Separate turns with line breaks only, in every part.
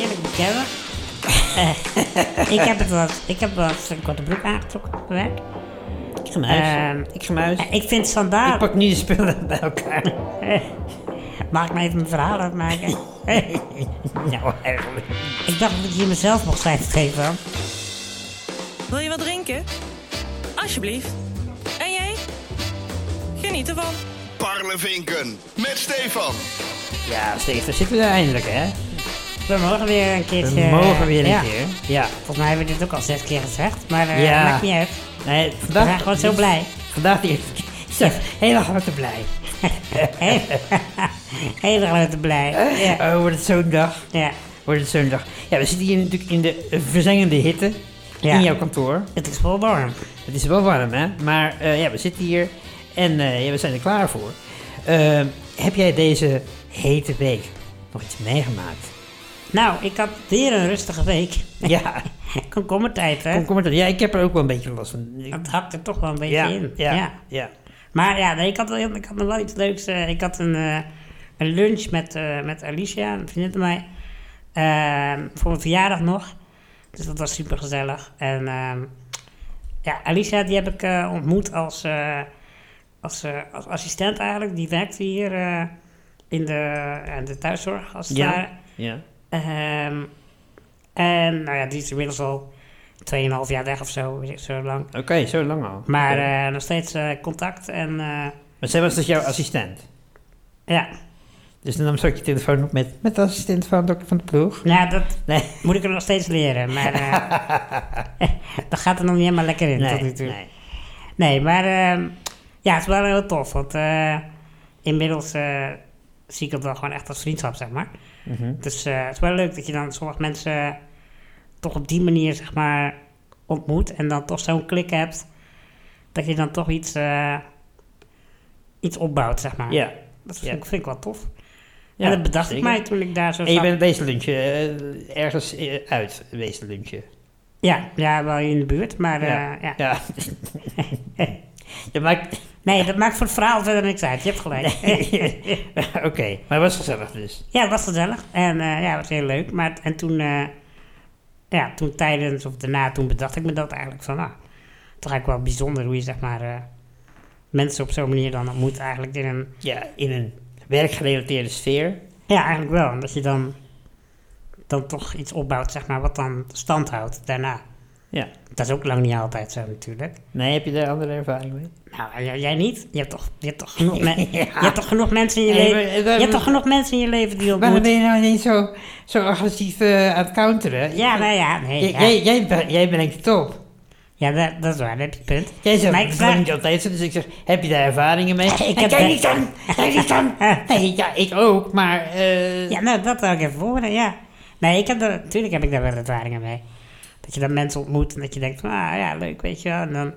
Ja hoor. Eh, ik heb het wat, ik heb wat een korte broek aangetrokken op mijn werk.
Ik ga naar huis.
Ehm,
ik ga naar huis.
Eh, Ik vind
Dus Ik
standaard.
pak nu de spullen bij elkaar.
Mag ik me even mijn verhaal afmaken?
nou, eigenlijk.
ik dacht dat ik hier mezelf mocht zijn gegeven. hoor.
Wil je wat drinken? Alsjeblieft. En jij? Geniet ervan.
Parlevinken met Stefan.
Ja, Steef, daar zitten we daar eindelijk, hè?
We mogen weer een keertje. eh,
We mogen weer een
ja.
keer. Ja.
Volgens mij hebben we dit ook al zes keer gezegd, maar eh
Ja.
maakt niet uit.
Nee,
We
vandaag...
zijn gewoon zo blij.
Vandaag die eerste keer. Zo, hele grote blij.
Hele grote blij. Ja.
Oh, wordt het zo'n dag.
ja.
Wordt het zo'n dag. Ja, we zitten hier natuurlijk in de eh, verzengende hitte.
Ja.
In jouw kantoor.
Het is vol warm.
Het is wel warm, hè? Maar eh, ja, we zitten hier en eh, ja, we zijn er klaar voor. Eh, heb jij deze hete week nog iets meegemaakt?
Nou, ik had weer een rustige week.
Ja,
Komkommertijd, hè?
kom, kom maar terug. Ja, ik heb er ook wel een beetje last van. Ik-
Dat hakt er toch wel een beetje
ja,
in.
ja, ja, ja.
Maar ja, nee, ik, had, wel- ik had nog wel iets leuks. eh, ik had een, eh, een lunch met, eh, met Alicia, een vriendin van mij. ehm, voor mijn verjaardag nog. Dus dat was super gezellig. En ehm, ja, Alicia die heb ik eh, ontmoet als, eh, als, eh, als assistent eigenlijk. Die werkte hier eh, in de, eh, de thuiszorg als het ware.
ja.
Ehm, en nou ja, die is inmiddels al 2,5 jaar weg of zo, weet ik, zo lang.
Oké, zo lang al.
Maar
Oké.
eh, nog steeds eh, contact en eh,
maar zij was dus jouw assistent.
ja.
Dus dan nam ze ook je telefoon op met, met de assistent van dokter van de ploeg.
Nou, dat
Nee,
moet ik er nog steeds leren, maar eh, dat gaat er nog niet helemaal lekker in tot nu
nee,
toe. Nee,
nee.
maar ehm, ja, het is wel heel tof, want eh, inmiddels eh, zie ik het wel gewoon echt als vriendschap, zeg maar.
Mhm.
Dus eh, het is wel leuk dat je dan sommige mensen toch op die manier, zeg maar, ontmoet. En dan toch zo'n klik hebt dat je dan toch iets, eh, iets opbouwt, zeg maar.
Ja.
Dat
Ja.
vind, ik- vind ik wel tof.
ja
en dat bedacht
zeker.
ik mij toen ik daar zo
En je
zat.
bent deze lunchen eh, ergens eh, uit, deze lunchen.
Ja, ja, wel in de buurt, maar ja. ja.
ja. Je maakt...
Nee, dat maakt voor het verhaal verder niks uit. Je hebt gelijk.
Oké, maar het was gezellig dus.
ja, het was gezellig. En eh, ja, het was heel leuk. Maar t- en toen, eh, ja, toen tijdens of daarna, toen bedacht ik me dat eigenlijk van, nou, toch eigenlijk wel bijzonder hoe je zeg maar eh, mensen op zo'n manier dan ontmoet eigenlijk in een,
Ja, in een werkgerelateerde sfeer.
ja, eigenlijk wel. En dat je dan, dan toch iets opbouwt, zeg maar, wat dan stand houdt daarna.
Ja.
Dat is ook lang niet altijd zo natuurlijk.
Nee, heb je daar andere ervaring mee?
Nou, jij, jij niet. Je hebt toch, je hebt toch, genoeg, me- je hebt toch genoeg mensen in je
Nee,
leven.
maar-
je hebt toch genoeg mensen in je leven die je
Waarom
ontmoet.
ben je nou ineens zo, zo agressief eh, aan het counteren?
Ja, nou ja, nee.
Jij-
ja.
Jij, jij, ben- jij brengt het op.
Ja, dat, dat is waar, dat heb je punt.
Jij zegt,
Maar ik
dat
vraag-
is niet altijd zo, dus ik zeg, heb je daar ervaringen mee?
Ik
En
heb
jij
daar-
niet dan, jij niet dan. Nee, ja, ik ook, maar... eh,
Ja, nou, dat wil ik even horen, ja. Nee, ik heb er, natuurlijk heb ik daar wel ervaringen mee. Dat je dan mensen ontmoet en dat je denkt van, ah ja, leuk, weet je wel. En dan,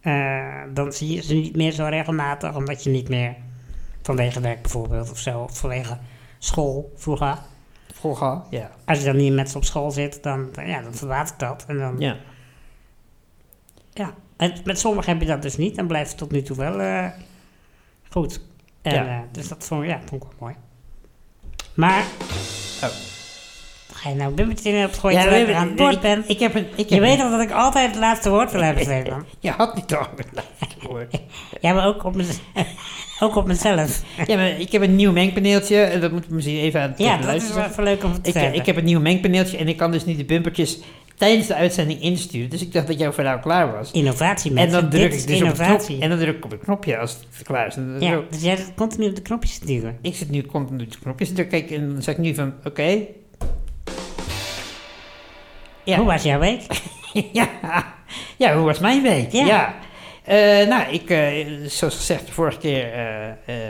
eh, dan zie je ze niet meer zo regelmatig, omdat je niet meer vanwege werk bijvoorbeeld of zo, of vanwege school vroeger.
Vroeger, ja.
Als je dan niet met ze op school zit, dan, dan- ja, dan verwatert dat. En dan,
Ja.
ja. En met sommigen heb je dat dus niet en blijft het tot nu toe wel eh, goed. En,
Ja.
eh, dus dat vond, ja, vond ik wel mooi. Maar.
Oh.
Ga je nou bumpertje in op het gooien
Ja,
terwijl
we-
ik aan het woord
ik-
ben?
Ik heb een... Ik
je
heb
weet
een-
al dat ik altijd het laatste woord wil hebben, Stefan.
Je had niet al het laatste woord.
Ja, maar ook op, mez- ook op mezelf.
Ja, maar ik heb een nieuw mengpaneeltje. en Dat moeten we misschien even aan het
Ja,
tegen de
dat is wel
luisteraars
even leuk om te
Ik,
zeggen.
ik heb een nieuw mengpaneeltje en ik kan dus niet de bumpertjes tijdens de uitzending insturen. Dus ik dacht dat jouw verhaal klaar was.
innovatie,
En
mensen.
dan druk
Dit
ik
is
dus op het knop,
innovatie.
En dan druk ik op het knopje als het klaar is. En dan
ja,
zo.
dus jij zit continu op de knopjes te duwen.
Ik zit nu continu op de knopjes te kijken en dan zeg ik nu van, oké. Ja.
Hoe was jouw week?
ja. ja, hoe was mijn week?
Ja.
Ja. Eh, nou, ik, eh, zoals gezegd, de vorige keer eh,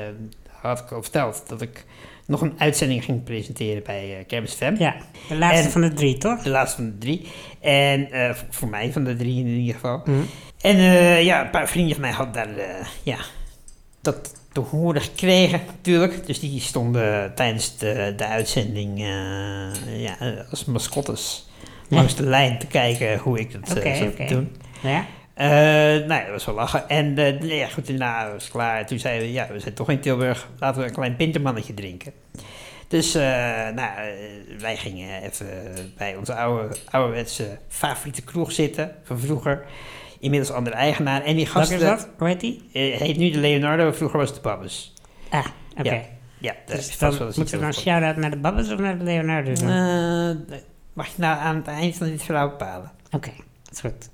eh, had ik al verteld dat ik nog een uitzending ging presenteren bij eh Kermis FM.
Ja, de laatste
En-
van de drie, toch?
De laatste van de drie. En eh, v- voor mij van de drie in ieder geval.
Mhm.
En eh, ja, een paar vrienden van mij hadden daar eh, ja, dat te horen gekregen natuurlijk. Dus die stonden tijdens de, de uitzending eh, ja, eh, als mascottes
Ja.
langs de lijn te kijken hoe ik dat eh,
Oké,
zou
oké.
doen.
Ja?
Eh, nou ja, dat was wel lachen. En eh, nee, ja, goed, daarna was het klaar. Toen zeiden we, ja, we zijn toch in Tilburg, laten we een klein pintermannetje drinken. Dus eh, nou, eh, wij gingen even bij onze oude, ouderwetse favoriete kroeg zitten van vroeger. Inmiddels andere eigenaar. En die
Wat
gasten...
is dat? Hoe heet die?
eh, heet nu de Leonardo, vroeger was het de Babbes.
Ah, oké.
Ja, daar is
Dus
vast
dan
wel eens iets
moeten we dan
over.
shout-out naar de Babbes of naar de Leonardo doen?
Eh, mag je nou aan het eind van dit verhaal bepalen?
Oké, dat is goed.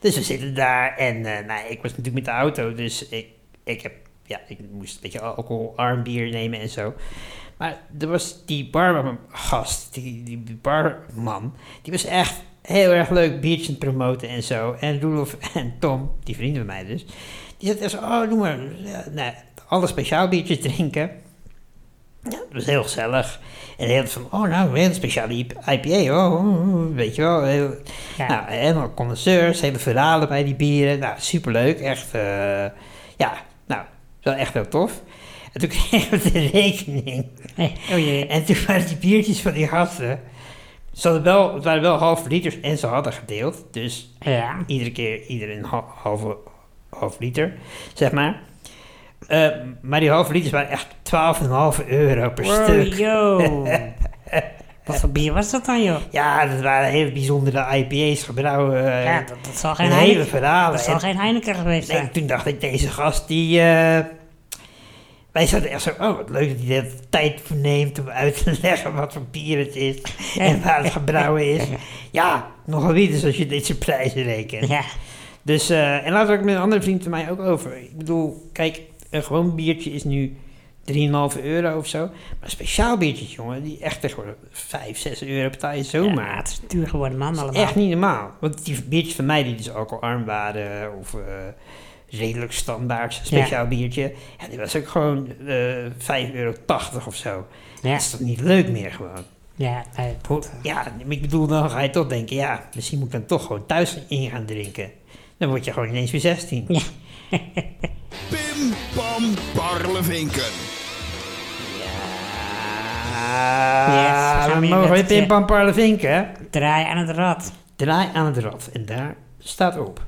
Dus we zitten daar en eh, nou, ik was natuurlijk met de auto, dus ik, ik, heb, ja, ik moest een beetje alcohol, arm bier nemen en zo. Maar er was die bargast, die, die, die barman, die was echt heel erg leuk biertje aan het promoten en zo. En Roelof en Tom, die vrienden van mij dus, die zaten echt zo, oh doe maar, ja, nou, alle speciaal biertjes drinken. Ja, dat was heel gezellig. En heel van, oh nou, weer een speciale IPA, oh, oh, oh, weet je wel. Heel,
Ja.
nou, helemaal condenseurs, hele verhalen bij die bieren. Nou, superleuk. Echt, eh, ja, nou, wel echt heel tof. En toen kregen we de rekening.
Hey, oh jee.
En toen waren die biertjes van die gasten... Ze hadden wel, het waren wel halve liters en ze hadden gedeeld. Dus
Ja.
iedere keer iedereen een hal- halve, half liter, zeg maar. Eh, maar die halve liters waren echt 12,5 euro per
Wow,
stuk.
yo. Wat voor bier was dat dan, joh?
Ja, dat waren hele bijzondere IPA's, gebrouwen. eh,
Ja, dat, dat zal geen
een hele
Heineken,
verhalen.
dat zal
En-
geen Heineken geweest
Nee,
zijn.
toen dacht ik, deze gast die. eh, wij zaten echt zo, oh wat leuk dat hij er tijd voor neemt om uit te leggen wat voor bier het is en waar het gebrouwen is. Ja, nogal wie dus als je dit soort prijzen rekent.
Ja,
Dus, eh, en later ook met een andere vriend van mij ook over. Ik bedoel, kijk, een gewoon biertje is nu 3,5 euro of zo. Maar speciaal biertjes, jongen, die echt echt worden 5, 6 euro betaal je zomaar.
ja, het is duur geworden, man, allemaal.
Echt niet normaal. Want die biertjes van mij die dus alcoholarm waren of eh, redelijk standaard speciaal biertje. Ja, die was ook gewoon eh 5,80 euro of zo.
Ja.
Dat is toch niet leuk meer gewoon.
Ja, nee,
Hoe- Ja, ik bedoel, dan ga je toch denken, ja, misschien moet ik dan toch gewoon thuis in gaan drinken. Dan word je gewoon ineens weer 16.
Ja.
Pim Pam Parlevinken.
Yes,
Ja,
we gaan
we
weer
mogen
met
weer
het, eh,
pimpam parle vinken.
draai aan het rad.
Draai aan het rad en daar staat op.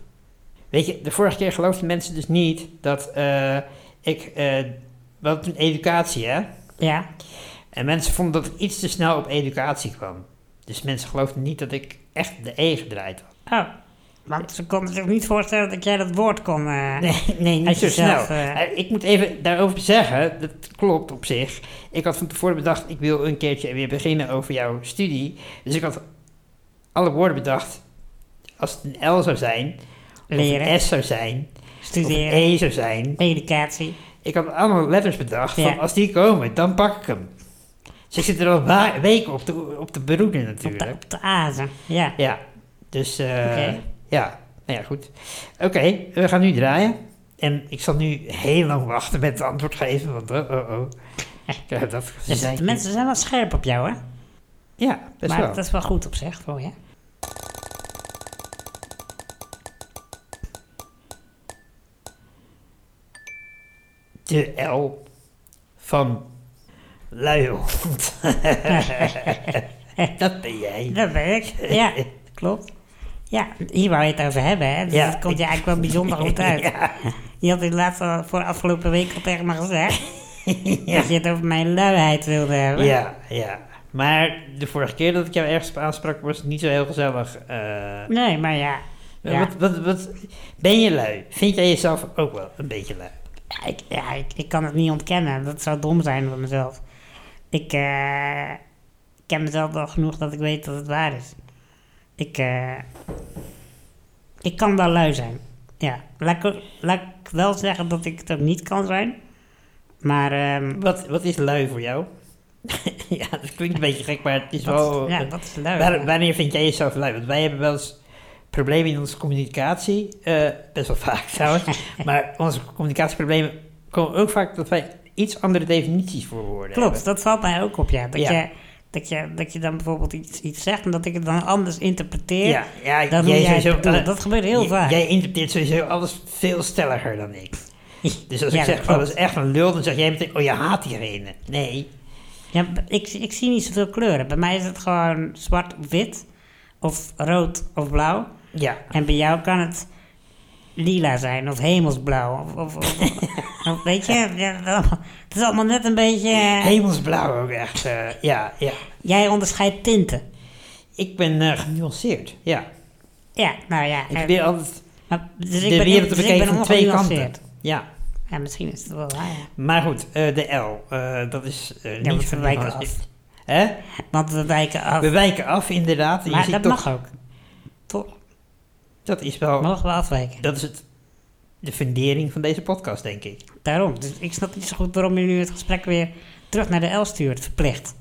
Weet je, de vorige keer geloofden mensen dus niet dat eh, ik... eh wat een educatie, hè?
Ja,
En mensen vonden dat ik iets te snel op educatie kwam. Dus mensen geloofden niet dat ik echt de E gedraaid had.
oh. Want ze konden zich niet voorstellen dat jij dat woord kon... eh,
Nee, nee niet
Uit
zo
jezelf,
snel.
eh.
Eh, ik moet even daarover zeggen, dat klopt op zich. Ik had van tevoren bedacht, ik wil een keertje weer beginnen over jouw studie. Dus ik had alle woorden bedacht. Als het een L zou zijn,
Leren.
of een S zou zijn, of een
Studeren.
E zou zijn.
Educatie.
Ik had allemaal letters bedacht
Ja.
van als die komen, dan pak ik hem. Dus ik zit er al wa- weken op te, op te beroeden
Op de,
natuurlijk.
op de azen. Ja.
Ja, dus eh,
Oké.
ja, nou ja, goed. Oké, we gaan nu draaien. En ik zal nu heel lang wachten met het antwoord geven, want oh oh oh. Ik heb dat
Dus
gezegd.
de mensen zijn wel scherp op jou, hè?
Ja, best
maar
wel.
dat is wel goed op zich voor je.
De L van luie hond. dat ben jij.
Dat ben ik. Ja, klopt. Ja, hier wou je het over hebben, hè? Dus
Ja.
dat komt je eigenlijk wel bijzonder goed uit.
Ja,
Je had dit laatst al voor de afgelopen week al tegen me gezegd.
ja.
Dat je het over mijn luiheid wilde hebben.
ja, ja. Maar de vorige keer dat ik jou ergens op aansprak, was het niet zo heel gezellig. eh,
Nee, maar ja. Ja,
Wat, wat, wat, ben je lui? Vind jij jezelf ook wel een beetje lui?
Ja, ik, ja ik, ik kan het niet ontkennen. Dat zou dom zijn van mezelf. Ik eh, ken mezelf wel genoeg dat ik weet dat het waar is. Ik, eh, ik kan wel lui zijn. Ja, laat ik, laat ik wel zeggen dat ik het ook niet kan zijn. Maar ehm,
Wat, wat is lui voor jou? ja, dat klinkt een beetje gek, maar het is
dat,
wel...
ja, dat is lui.
Waar- wanneer vind jij jezelf lui? Want wij hebben wel eens problemen in onze communicatie. eh, best wel vaak trouwens. maar onze communicatieproblemen komen ook vaak dat wij iets andere definities voor woorden
Klopt,
hebben.
dat valt mij ook op, ja. Dat,
Ja.
Je, dat, je, dat je dan bijvoorbeeld iets, iets zegt en dat ik het dan anders interpreteer
Ja, ja
dan hoe
jij
jij het
sowieso-
bedoelt. Dat gebeurt heel
J-
vaak.
Jij interpreteert sowieso alles veel stelliger dan ik. Dus als
Ja,
ik zeg,
dat
van,
klopt.
dat is echt een lul, dan zeg jij meteen, oh je haat diegene. Nee,
Ja, b- ik, ik zie niet zoveel kleuren. Bij mij is het gewoon zwart of wit, of rood of blauw.
ja.
En bij jou kan het lila zijn of hemelsblauw. Of, of, of- of- of- weet je, ja, dat allemaal- het is allemaal net een beetje... eh,
Hemelsblauw ook echt. eh, ja, ja.
Jij onderscheidt tinten.
Ik ben eh, genuanceerd, ja.
Ja, nou ja.
Ik
eh,
probeer altijd
maar- dus ik
de
ben-
wereld te
dus ik
bekijken
ben
van twee kanten.
ongenuanceerd.
Ja,
Ja, misschien is het wel waar, ja.
maar goed, eh, de L, eh, dat is eh,
want
niet
we
van
wijken
nuance.
af.
Hè?
Want we wijken af.
We wijken af, inderdaad. en je
maar
ziet
dat
toch-
mag ook. Toch?
Dat is wel,
Mogen we afwijken.
dat is het, de fundering van deze podcast, denk ik.
Daarom. Dus ik snap niet zo goed waarom je nu het gesprek weer terug naar de L stuurt, verplicht.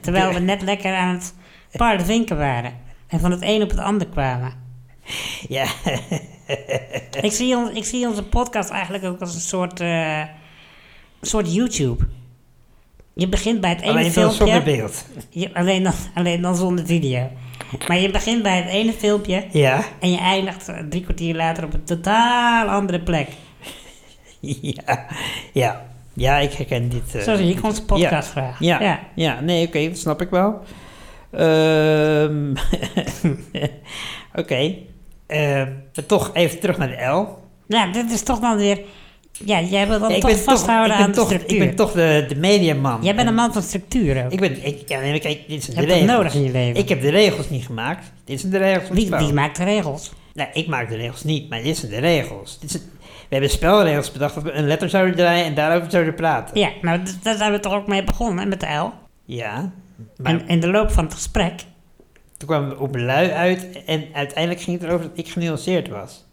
Terwijl we net lekker aan het paardenvinken waren. En van het een op het ander kwamen.
Ja,
Ik zie, ons, ik zie onze podcast eigenlijk ook als een soort, eh, een soort YouTube. Je begint bij het ene
alleen veel
filmpje.
zonder beeld.
Je- alleen, dan, alleen dan zonder video. Maar je begint bij het ene filmpje
Ja,
en je eindigt eh, drie kwartier later op een totaal andere plek.
ja, ja. Ja, ik herken dit. eh,
Zo zie
dit-
ik onze podcastvraag.
Ja, ja. ja. nee, oké, dat snap ik wel. Ehm, oké. Ehm, maar toch even terug naar de L.
Nou, dit is toch dan weer... Ja, jij wil dan
ik
toch
ben
vasthouden
ik ben
aan
toch,
de structuur.
Ik ben toch de, de mediaman.
jij bent een man van structuur ook.
Ik ben, ik, ja, nee, maar kijk, dit zijn
Je hebt
de
het
regels.
nodig in je leven.
Ik heb de regels niet gemaakt. Dit zijn de regels van het
wie,
spel.
wie maakt de regels?
Nou, ik maak de regels niet, maar dit zijn de regels. Dit zijn, we hebben spelregels bedacht dat we een letter zouden draaien en daarover zouden praten.
Ja, nou, d- daar zijn we toch ook mee begonnen, hè, met de L.
Ja, maar
En in de loop van het gesprek...
toen kwam het op lui uit en uiteindelijk ging het erover dat ik genuanceerd was.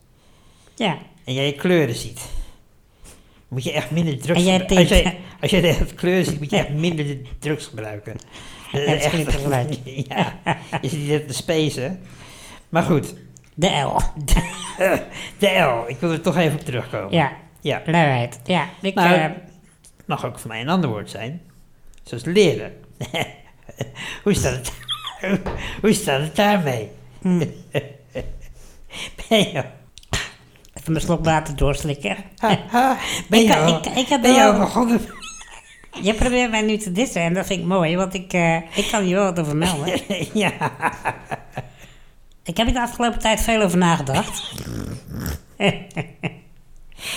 Ja,
En jij kleuren ziet. Moet je echt minder drugs
En jij
gebruiken. Als
tinten.
jij, als jij de hele kleuren ziet, moet je
Ja.
echt minder de drugs gebruiken. Dat is
het schiet tegelijk.
ja, je ziet het de space, hè. Maar goed,
de L.
de L. Ik wil er toch even op terugkomen.
Ja,
ja.
luiheid. Ja, ik...
Nou,
eh,
Het mag ook voor mij een ander woord zijn. Zoals leren. hoe, staat het, hoe staat het daarmee?
Hmm.
ben je,
even mijn slok water doorslikken.
ha, ben
Ik
je,
kan-
al-
ik kan- ik heb
ben je
wel-
al begonnen?
Je probeert mij nu te dissen en dat vind ik mooi, want ik, eh, ik kan hier wel wat over melden.
ja,
Ik heb hier de afgelopen tijd veel over nagedacht.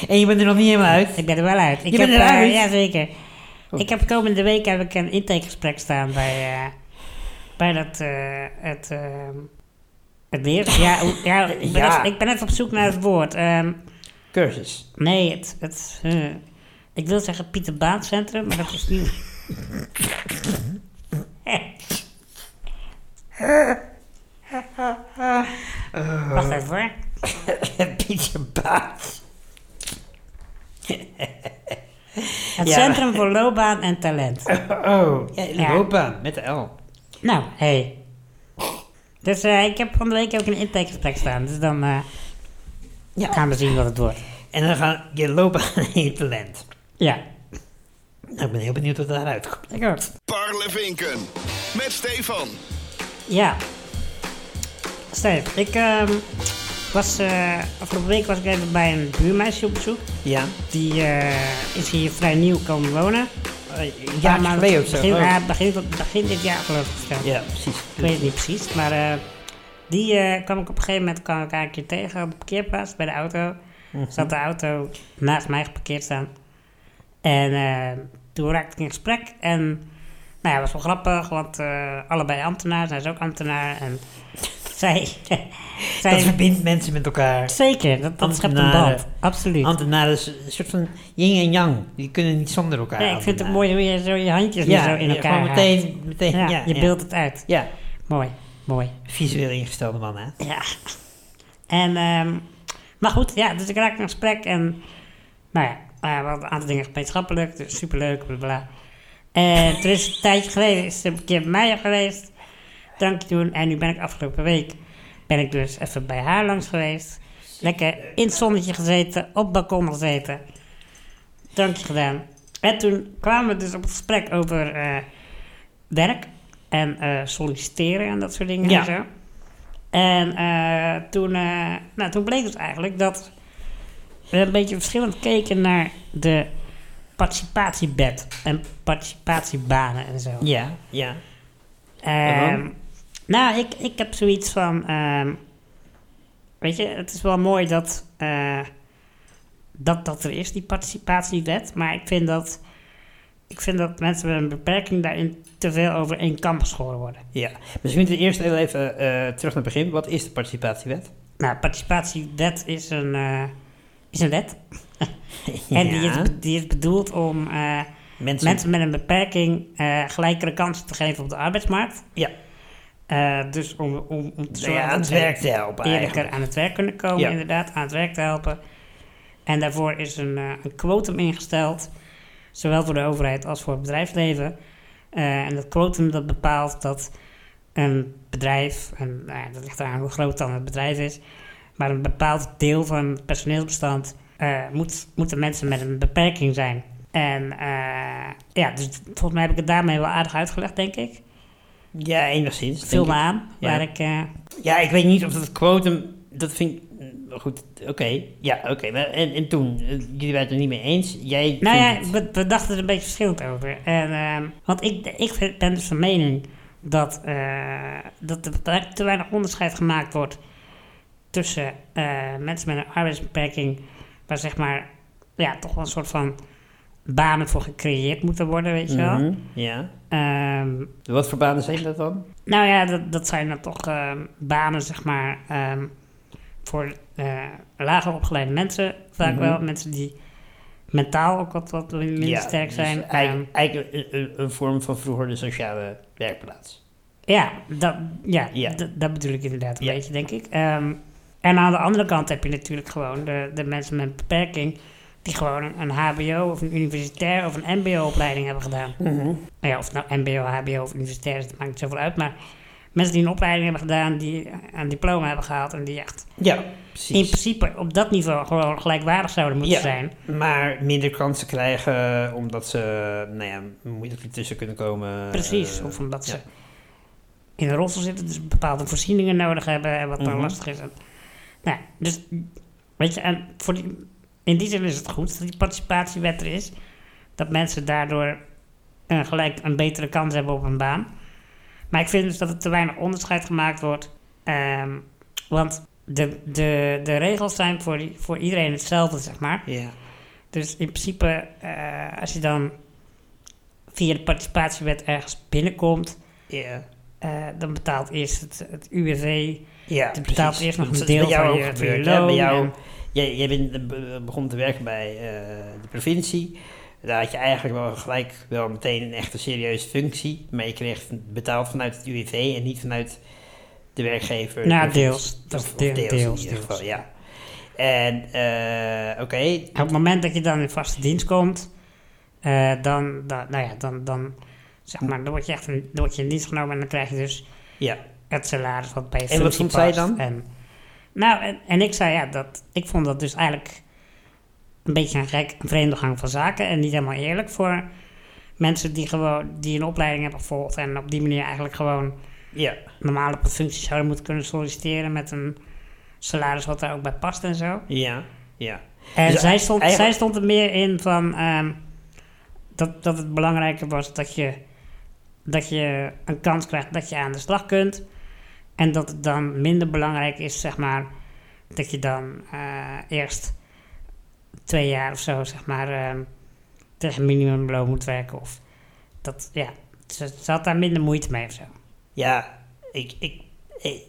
en je bent er nog niet helemaal uit.
Ik ben er wel uit. Ik
Je
heb,
bent eruit?
eh, Jazeker. Ik heb komende week heb ik een intakegesprek staan bij, eh, bij dat, eh, het, ehm het leer. Ja, hoe- ja, ik, ben
Ja.
Even, ik ben even op zoek naar het woord. Ehm,
Cursus.
nee, het, het eh, ik wil zeggen Pieter Baan Centrum, maar dat is niet... Wacht even hoor.
Pietje Baas.
Het
Ja.
Centrum voor Loopbaan en Talent.
Oh, ja,
Ja.
loopbaan met de L.
Nou, Hey. Dus eh, ik heb van de week ook een intakegesprek staan. Dus dan eh,
Ja.
gaan we zien wat het wordt.
En dan gaan je loopbaan en je talent.
Ja,
Nou, ik ben heel benieuwd wat daaruit komt.
ik ook.
Parlevinken. Met Stefan.
Ja. Steve, ik ehm, was eh, afgelopen week was ik even bij een buurmeisje op bezoek.
Ja.
Die eh, is hier vrij nieuw komen wonen.
Uh, ja, maar twee of zo.
Begin,
Oh.
ja, begin, begin dit jaar geloof ik. zelf.
Ja, precies.
Ik weet het niet precies, maar eh, die eh, kwam ik op een gegeven moment kwam ik haar een keer tegen op de parkeerplaats bij de auto.
Mhm.
Zat de auto naast mij geparkeerd staan. En eh, toen raakte ik in gesprek en nou ja, was wel grappig, want eh, allebei ambtenaar, zij is ook ambtenaar en zij...
Dat
zij
verbindt mensen met elkaar.
zeker, dat, dat schept een
Ambtenaren.
band, absoluut.
Ambtenaren is een soort van yin en yang. Die kunnen niet zonder elkaar.
Nee, ik vind het
ambtenaren.
mooi hoe je zo je handjes nu
Ja,
zo in
ja,
elkaar
gewoon
haalt.
meteen, meteen, ja,
Ja, je
ja.
beeldt het uit.
Ja,
Mooi, mooi.
visueel ingestelde man, hè?
Ja. En, ehm, maar goed, ja, dus ik raakte in gesprek en, nou ja, eh, we hadden een aantal dingen gemeenschappelijk, dus superleuk, bla bla. En toen is het een tijdje geleden, is ze een keer bij mij geweest, drankje doen, en nu ben ik afgelopen week, ben ik dus even bij haar langs geweest. Lekker in het zonnetje gezeten, op het balkon gezeten, drankje gedaan. En toen kwamen we dus op het gesprek over eh, werk en eh, solliciteren en dat soort dingen
Ja.
en zo. En eh, toen, eh, nou, toen bleek dus eigenlijk dat we een beetje verschillend keken naar de participatiebed en participatiebanen en zo.
Ja, ja.
Ehm,
En dan?
nou, ik, ik heb zoiets van. ehm, weet je, het is wel mooi dat, eh, dat dat er is, die participatiewet. Maar ik vind dat, ik vind dat mensen met een beperking daarin te veel over één kam geschoren worden.
Ja, misschien het eerst heel even eh, terug naar het begin. Wat is de participatiewet?
Nou, participatiewet is een, eh, is een wet. En die is,
Ja.
be- die is bedoeld om eh,
mensen,
mensen met een beperking eh, gelijkere kansen te geven op de arbeidsmarkt.
Ja, Nou
Eh, dus om, om, om te zorgen
ja, aan
dat
het
ze
werk te helpen
eerlijker
eigenlijk.
aan het werk kunnen komen,
Ja.
inderdaad, aan het werk te helpen. En daarvoor is een, eh, een quotum ingesteld, zowel voor de overheid als voor het bedrijfsleven. Eh, en dat quotum dat bepaalt dat een bedrijf, en nou ja, dat ligt eraan hoe groot dan het bedrijf is, maar een bepaald deel van het personeelsbestand eh, moet, moeten mensen met een beperking zijn. En eh, ja, dus volgens mij heb ik het daarmee wel aardig uitgelegd, denk ik.
Ja, enigszins. denk
Vul
ik.
me aan,
Ja.
waar ik... eh,
Ja, ik weet niet of dat quotum. Dat vind ik. mm, Goed, oké. Ja, oké. maar En, en toen, eh, jullie waren het er niet mee eens. Jij.
Nou ja,
vindt het-
we, we dachten er een beetje verschillend over. En, ehm, want ik, ik vind- ben dus van mening dat, eh, dat er te- te weinig onderscheid gemaakt wordt tussen eh, mensen met een arbeidsbeperking, waar zeg maar ja, toch wel een soort van banen voor gecreëerd moeten worden, weet je wel.
Mhm, ja.
Ehm,
Wat voor banen zijn dat dan?
nou ja, dat, dat zijn dan toch ehm, banen, zeg maar, ehm, voor eh, lager opgeleide mensen vaak
Mhm.
wel. Mensen die mentaal ook wat, wat minder sterk
dus
zijn. Ehm,
eigenlijk eigenlijk een, een- een vorm van vroeger de sociale werkplaats.
Ja, dat, ja,
Ja.
d- dat bedoel ik inderdaad een
Ja.
beetje, denk ik. Ehm, en aan de andere kant heb je natuurlijk gewoon de, de mensen met een beperking... die gewoon een, een hbo of een universitair of een mbo-opleiding hebben gedaan.
Mhm.
Nou ja, of het nou mbo, hbo of universitair is, dat maakt niet zoveel uit. Maar mensen die een opleiding hebben gedaan, die een diploma hebben gehaald... en die echt
Ja,
in
precies.
principe op dat niveau gewoon gelijkwaardig zouden moeten
Ja.
zijn...
Maar minder kansen krijgen omdat ze, nou ja, moeilijk ertussen kunnen komen.
Precies,
eh,
of omdat ze
ja.
in een rolstoel zitten, dus bepaalde voorzieningen nodig hebben, en wat dan
Mhm.
lastig is. En, nou, ja, dus weet je, en voor die, in die zin is het goed dat die participatiewet er is, dat mensen daardoor een, gelijk een betere kans hebben op een baan. Maar ik vind dus dat er te weinig onderscheid gemaakt wordt, ehm, want de, de, de regels zijn voor, die- voor iedereen hetzelfde, zeg maar.
Ja.
Dus in principe, eh, als je dan via de participatiewet ergens binnenkomt,
Ja.
eh, dan betaalt eerst het, het UWV.
Ja,
Je betaalt
precies.
eerst nog
Dat
een
is bij
deel
jou
van
ook
je- van je
gebeurd, hè? Bij
loon
jou,
en-
jij, jij bent, eh, be- begon te werken bij eh, de provincie. Daar had je eigenlijk wel gelijk wel meteen een echte serieuze functie. Maar je kreeg betaald vanuit het UWV en niet vanuit de werkgever. de
Nou,
provincie.
deels. Dat is
Of- of
deel- deels,
in ieder geval,
deels.
ja. En, eh, oké,
Op het moment dat je dan in vaste dienst komt, eh, dan, dan, nou ja, dan, dan, zeg maar, dan word je echt een, dan word je in dienst genomen en dan krijg je dus
ja.
het salaris wat bij je
En wat
functie
vond zij
past.
dan?
En, nou, en, en ik zei ja, dat, ik vond dat dus eigenlijk een beetje een gek, een vreemde gang van zaken en niet helemaal eerlijk voor mensen die gewoon, die een opleiding hebben gevolgd en op die manier eigenlijk gewoon
Ja,
normaal op een functie zouden moeten kunnen solliciteren met een salaris wat daar ook bij past en zo.
ja, ja.
En
Dus
zij, stond,
eigenlijk-
zij stond er meer in van ehm, dat, dat het belangrijker was dat je, dat je een kans krijgt dat je aan de slag kunt. En dat het dan minder belangrijk is, zeg maar, dat je dan eh, eerst twee jaar of zo, zeg maar, ehm, tegen minimumloon moet werken. Of dat, ja, ze, ze had daar minder moeite mee of zo.
Ja, ik. ik, ik-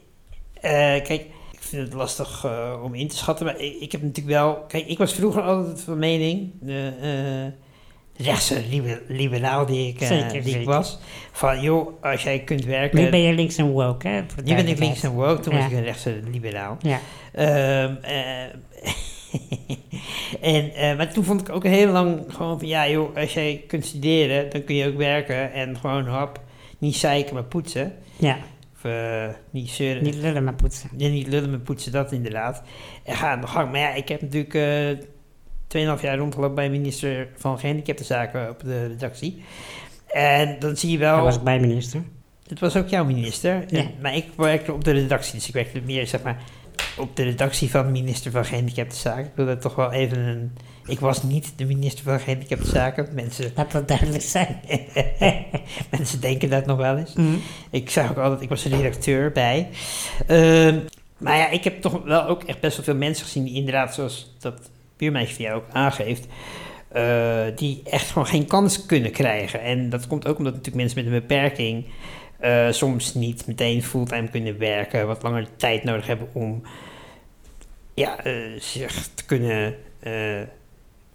eh, kijk, ik vind het lastig eh, om in te schatten. Maar ik, ik heb natuurlijk wel. Kijk, ik was vroeger altijd van mening. eh eh rechtse liber- liberaal die ik, eh,
Zeker,
die ik
zeker.
was. Van joh, als jij kunt werken.
Nu ben je links en woke, hè? voor
Eh, nu ben ik
duidelijkheid.
links en woke, toen
Ja.
was ik een rechtse liberaal.
Ja.
Ehm, eh, en, eh, maar toen vond ik ook heel lang gewoon van ja joh, als jij kunt studeren, dan kun je ook werken en gewoon hap, niet zeiken maar poetsen.
ja,
Of eh, niet zeuren.
niet lullen maar poetsen.
Ja, niet lullen met poetsen, dat inderdaad. En ga aan de gang. Maar ja, ik heb natuurlijk eh 2,5 jaar rondgelopen bij minister van Gehandicaptenzaken op de redactie. En dan zie je wel...
Daar was ik bij, minister.
Het was ook jouw minister.
Ja.
En- Maar ik werkte op de redactie, dus ik werkte meer zeg maar op de redactie van minister van Gehandicaptenzaken. Ik wil dat toch wel even een... Ik was niet de minister van Gehandicaptenzaken. Mensen,
Laat dat duidelijk zijn.
Mhm. mensen denken dat nog wel eens. Ik zag ook altijd, ik was de redacteur bij. Ehm, Maar ja, ik heb toch wel ook echt best wel veel mensen gezien die inderdaad, zoals dat buurmeisje van jou ook aangeeft, eh, die echt gewoon geen kans kunnen krijgen. En dat komt ook omdat natuurlijk mensen met een beperking eh, soms niet meteen fulltime kunnen werken, wat langer tijd nodig hebben om ja, eh, zich te kunnen eh,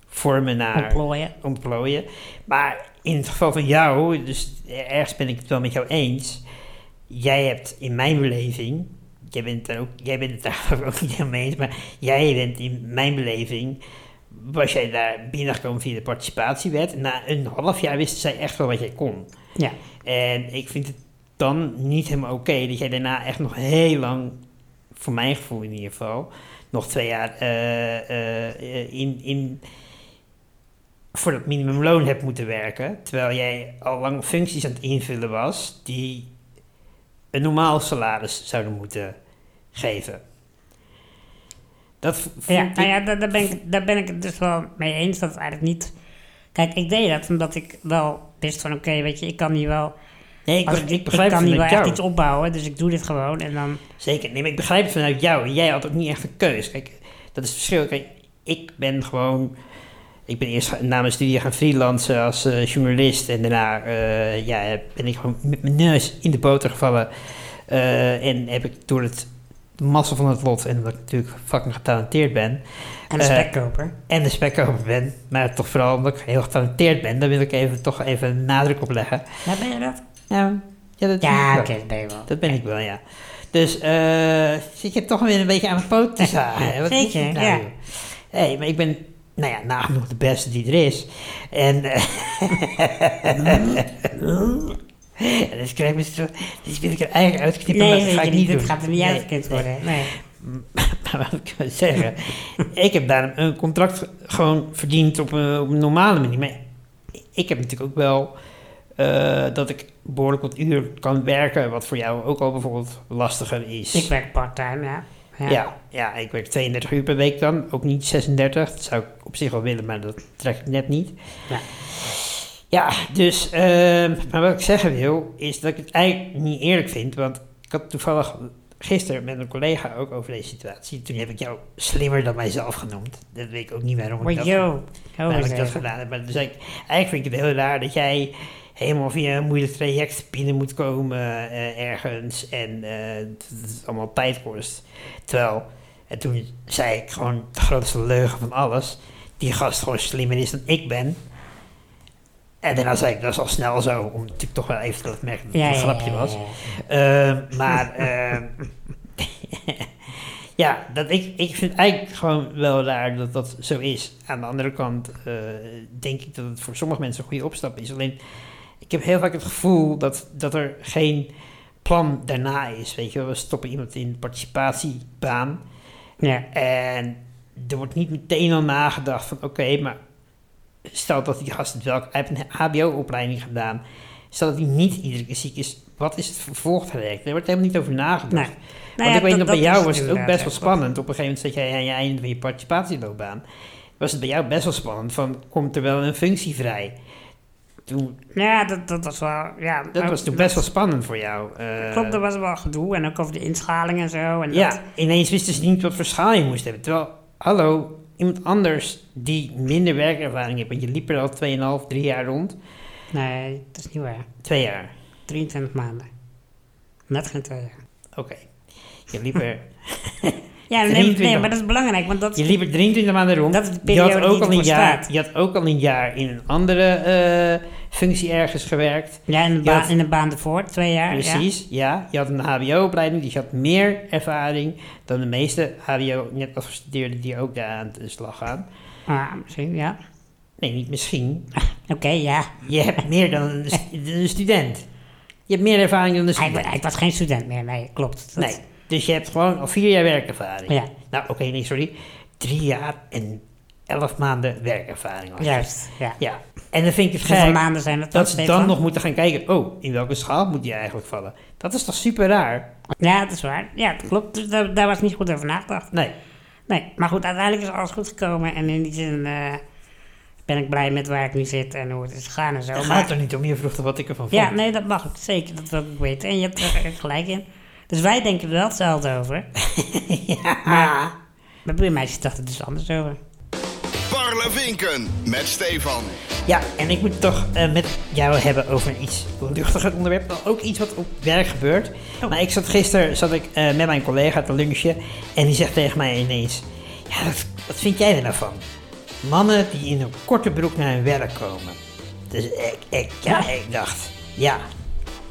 vormen naar
ontplooien.
ontplooien. Maar in het geval van jou, dus ergens ben ik het wel met jou eens. Jij hebt in mijn beleving, jij bent, daar ook, jij bent het daar ook niet helemaal mee eens, maar jij bent in mijn beleving, was jij daar binnengekomen via de participatiewet. Na een half jaar wisten zij echt wel wat jij kon.
Ja.
En ik vind het dan niet helemaal oké dat jij daarna echt nog heel lang, voor mijn gevoel in ieder geval, nog twee jaar eh, eh, eh, in, in, voor dat minimumloon hebt moeten werken. Terwijl jij al lang functies aan het invullen was die een normaal salaris zouden moeten geven. Dat v-
Ja,
vind
nou
ik-
ja, daar, daar ben ik, daar ben ik het dus wel mee eens dat het eigenlijk niet... Kijk, ik deed dat omdat ik wel wist van... Oké, weet je, ik kan hier wel...
nee, ik,
als
be-
ik,
ik begrijp
ik kan
het
hier wel
vanuit
echt
jou.
iets opbouwen, dus ik doe dit gewoon. En dan...
Zeker, nee, maar ik begrijp het vanuit jou. En jij had ook niet echt een keus. Kijk, dat is het verschil. Kijk, ik ben gewoon... Ik ben eerst ga- na mijn studie gaan freelancen als eh, journalist. En daarna eh, ja, ben ik gewoon met mijn neus in de boter gevallen. Eh, en heb ik door het massa van het lot... en omdat ik natuurlijk fucking getalenteerd ben...
En de
Eh,
spekkoper.
en de spekkoper ben... maar toch vooral omdat ik heel getalenteerd ben... daar wil ik even, toch even een nadruk op leggen.
Ja, ben je dat?
Ja, ja, dat
Ja,
wel.
oké, dat ben je wel.
Dat ben ik wel, ja. Dus eh, zit je toch weer een beetje aan mijn poot te zagen. hè? Wat is
Zeker,
dit nou,
ja.
joh? hey, maar ik ben, nou ja, nagenoeg de beste die er is. En, eh, en dus krijg ik me zo, dus wil ik er eigenlijk uitknippen, maar
Nee,
dat
weet
ga
je
ik
niet,
niet doen.
dit gaat er niet
Nee.
uitgekend worden. Nee.
Maar Nou, wat ik wil zeggen, ik heb daar een contract ge- gewoon verdiend op een, op een normale manier. Maar ik heb natuurlijk ook wel eh, dat ik behoorlijk wat uur kan werken, wat voor jou ook al bijvoorbeeld lastiger is.
Ik werk part-time, ja.
ja.
Ja.
Ja, ik werk 32 uur per week dan, ook niet 36. Dat zou ik op zich wel willen, maar dat trek ik net niet.
Ja.
Ja, dus, ehm, maar wat ik zeggen wil, is dat ik het eigenlijk niet eerlijk vind, want ik had toevallig gisteren met een collega ook over deze situatie. Toen heb ik jou slimmer dan mijzelf genoemd. Dat weet ik ook niet waarom ik
Maar
dat,
yo,
waarom
hou eens
ik dat
even.
gedaan heb. Maar dus eigenlijk, eigenlijk vind ik het heel raar dat jij helemaal via een moeilijk traject binnen moet komen eh, ergens. En eh, dat het allemaal tijd kost. Terwijl, en toen zei ik gewoon de grootste leugen van alles. Die gast gewoon slimmer is dan ik ben. En daarna zei ik, dat is al snel zo, om natuurlijk toch wel even te laten merken dat het
Ja,
een
ja,
grapje
ja,
was.
ja, ja.
Ehm, maar ehm, ja, dat ik, ik vind eigenlijk gewoon wel raar dat dat zo is. Aan de andere kant eh, denk ik dat het voor sommige mensen een goede opstap is. Alleen ik heb heel vaak het gevoel dat, dat er geen plan daarna is. Weet je, wel. we stoppen iemand in een participatiebaan.
Ja.
En er wordt niet meteen al nagedacht van oké, maar stel dat die gast het wel, hij heeft een HBO-opleiding gedaan. Stel dat hij niet iedere keer ziek is, wat is het vervolgtraject? Daar wordt helemaal niet over nagedacht.
Nee.
Want
Nou ja,
ik weet
dat-
nog, bij
dat
jou
is
was het ook
inderdaad,
best wel
ja.
spannend. Op een gegeven moment zat jij aan je einde van je participatieloopbaan. Was het bij jou best wel spannend van, komt er wel een functie vrij? Toen,
Ja, dat, dat was wel... Ja,
dat
ook-
was toen best wel spannend voor jou. eh.
Nou, Klopt, er was wel gedoe. En ook over de inschaling en zo. En
Ja,
dat-
ineens wisten ze niet wat voor schaal je moest hebben. Terwijl, hallo, iemand anders die minder werkervaring heeft, want je liep er al 2,5, 3 jaar rond.
Nee, dat is niet waar.
Twee jaar,
23 maanden. Net geen twee jaar.
oké. Je liep er,
Ja, nee,
23.
nee, maar dat is belangrijk, want dat
je liep er 23 maanden rond.
Dat is de
je had
periode
ook
die
al een
ervoor
jaar,
staat.
Je had ook al een jaar in een andere eh, functie ergens gewerkt.
Ja, in de,
Ja,
baan,
dat-
in de baan ervoor, twee jaar. Ja.
Precies, ja. Je had een HBO-opleiding, dus je had meer ervaring dan de meeste HBO, net afgestudeerden die ook daar aan de slag gaan.
Ah, misschien, ja.
Nee, niet misschien,
Oké, ja.
Je hebt meer dan een, stu- een student. Je hebt meer ervaring dan een
Hij,
student.
wa- hij was geen student meer, nee, klopt. Dat-
Nee, dus je hebt gewoon al vier jaar werkervaring.
Ja.
Nou, oké, nee, sorry. Drie jaar en elf maanden werkervaring. al.
Juist, ja.
Ja, en dan vind ik het
Hoeveel
gek
maanden zijn dat
dat ze dan
Stefan?
nog moeten gaan kijken... oh, in welke schaal moet die eigenlijk vallen? Dat is toch super raar?
Ja, dat is waar. Ja, dat klopt. Dus daar, daar was niet goed over nagedacht.
Nee,
Nee, maar goed, uiteindelijk is alles goed gekomen. En in die zin eh, ben ik blij met waar ik nu zit en hoe het is gegaan en zo.
het
maar-
gaat er niet om. Je vroeg toch wat ik ervan vond?
Ja, nee, dat mag ook. Zeker, dat wil ik ook weten. En je hebt er echt gelijk in. Dus wij denken er wel hetzelfde over.
ja.
Maar buurmeisjes dachten het dus anders over.
Parlevinken met Stefan.
ja, en ik moet het toch eh, met jou hebben over een iets luchtiger onderwerp. maar Ook iets wat op werk gebeurt. Maar ik zat gisteren zat ik, eh, met mijn collega te lunchen. En die zegt tegen mij ineens... Ja, dat- wat vind jij er nou van? Mannen die in een korte broek naar hun werk komen. Dus ik, ik, ja,
Ja.
ik dacht... Ja,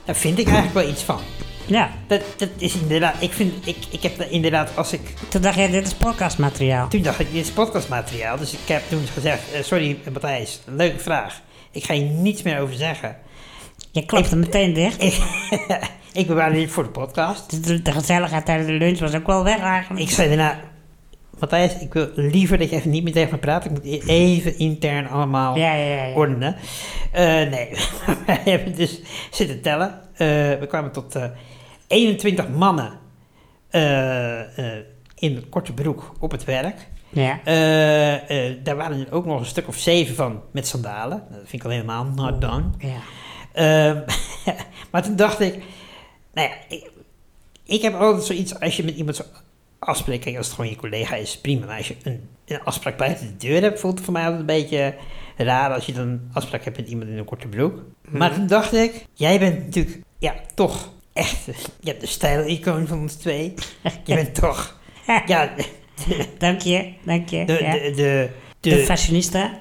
daar vind ik eigenlijk wel iets van.
Ja,
Dat, dat is inderdaad... Ik, vind, ik, ik heb daar inderdaad, als ik
toen dacht jij, dit is podcastmateriaal.
Toen dacht ik, dit is podcastmateriaal, dus ik heb toen gezegd, eh, sorry Matthijs, leuke vraag. Ik ga hier niets meer over zeggen.
Je klapte meteen dicht.
Ik, ik bewaar dit voor de podcast.
Dus De, de gezelligheid tijdens de lunch was ook wel weg eigenlijk.
Ik zei daarna, Matthijs, ik wil liever dat je even niet meer tegen me praat. Ik moet e- even intern allemaal
Ja, ja, ja, ja.
ordenen. Eh, nee, we hebben dus zitten tellen. Eh, we kwamen tot eh, 21 mannen eh, eh, in een korte broek op het werk.
Ja.
Eh, eh, daar waren er ook nog een stuk of zeven van met sandalen. Dat vind ik al helemaal not done.
ja.
Ehm, maar toen dacht ik, nou ja, ik, ik heb altijd zoiets als je met iemand zo afspreekt. Kijk, als het gewoon je collega is, prima. Maar als je een, een afspraak buiten de deur hebt, voelt het voor mij altijd een beetje raar als je dan een afspraak hebt met iemand in een korte broek. Maar toen dacht ik, jij bent natuurlijk, ja, toch echt, je hebt de stijl-icoon van ons twee. Je bent toch, ja,
Dank je, dank je.
de,
ja.
de, de,
de, fashionista.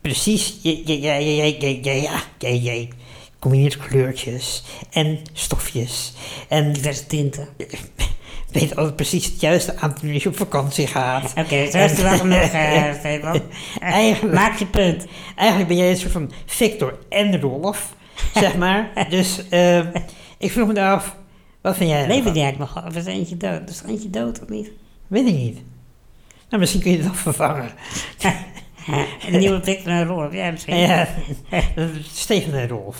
Precies, jij, jij, jij, jij, jij, jij, ja, jij, jij combineert kleurtjes en stofjes. En
Diverse tinten.
weet altijd precies het juiste aantal uur als je op vakantie gaat.
Oké, zo is het wel genoeg, eh, Stefan.
Eigenlijk-
Maak je punt.
Eigenlijk ben jij een soort van Victor en Rolf, zeg maar. Dus eh, ik vroeg me daar af, wat vind jij
Leven
ervan?
die eigenlijk nog? Of is er eentje dood? Is er eentje dood of niet?
Weet ik niet. Nou, misschien kun je het dan vervangen.
Een nieuwe Victor en Rolf, ja misschien. Ja,
Ja, Steven en Rolf.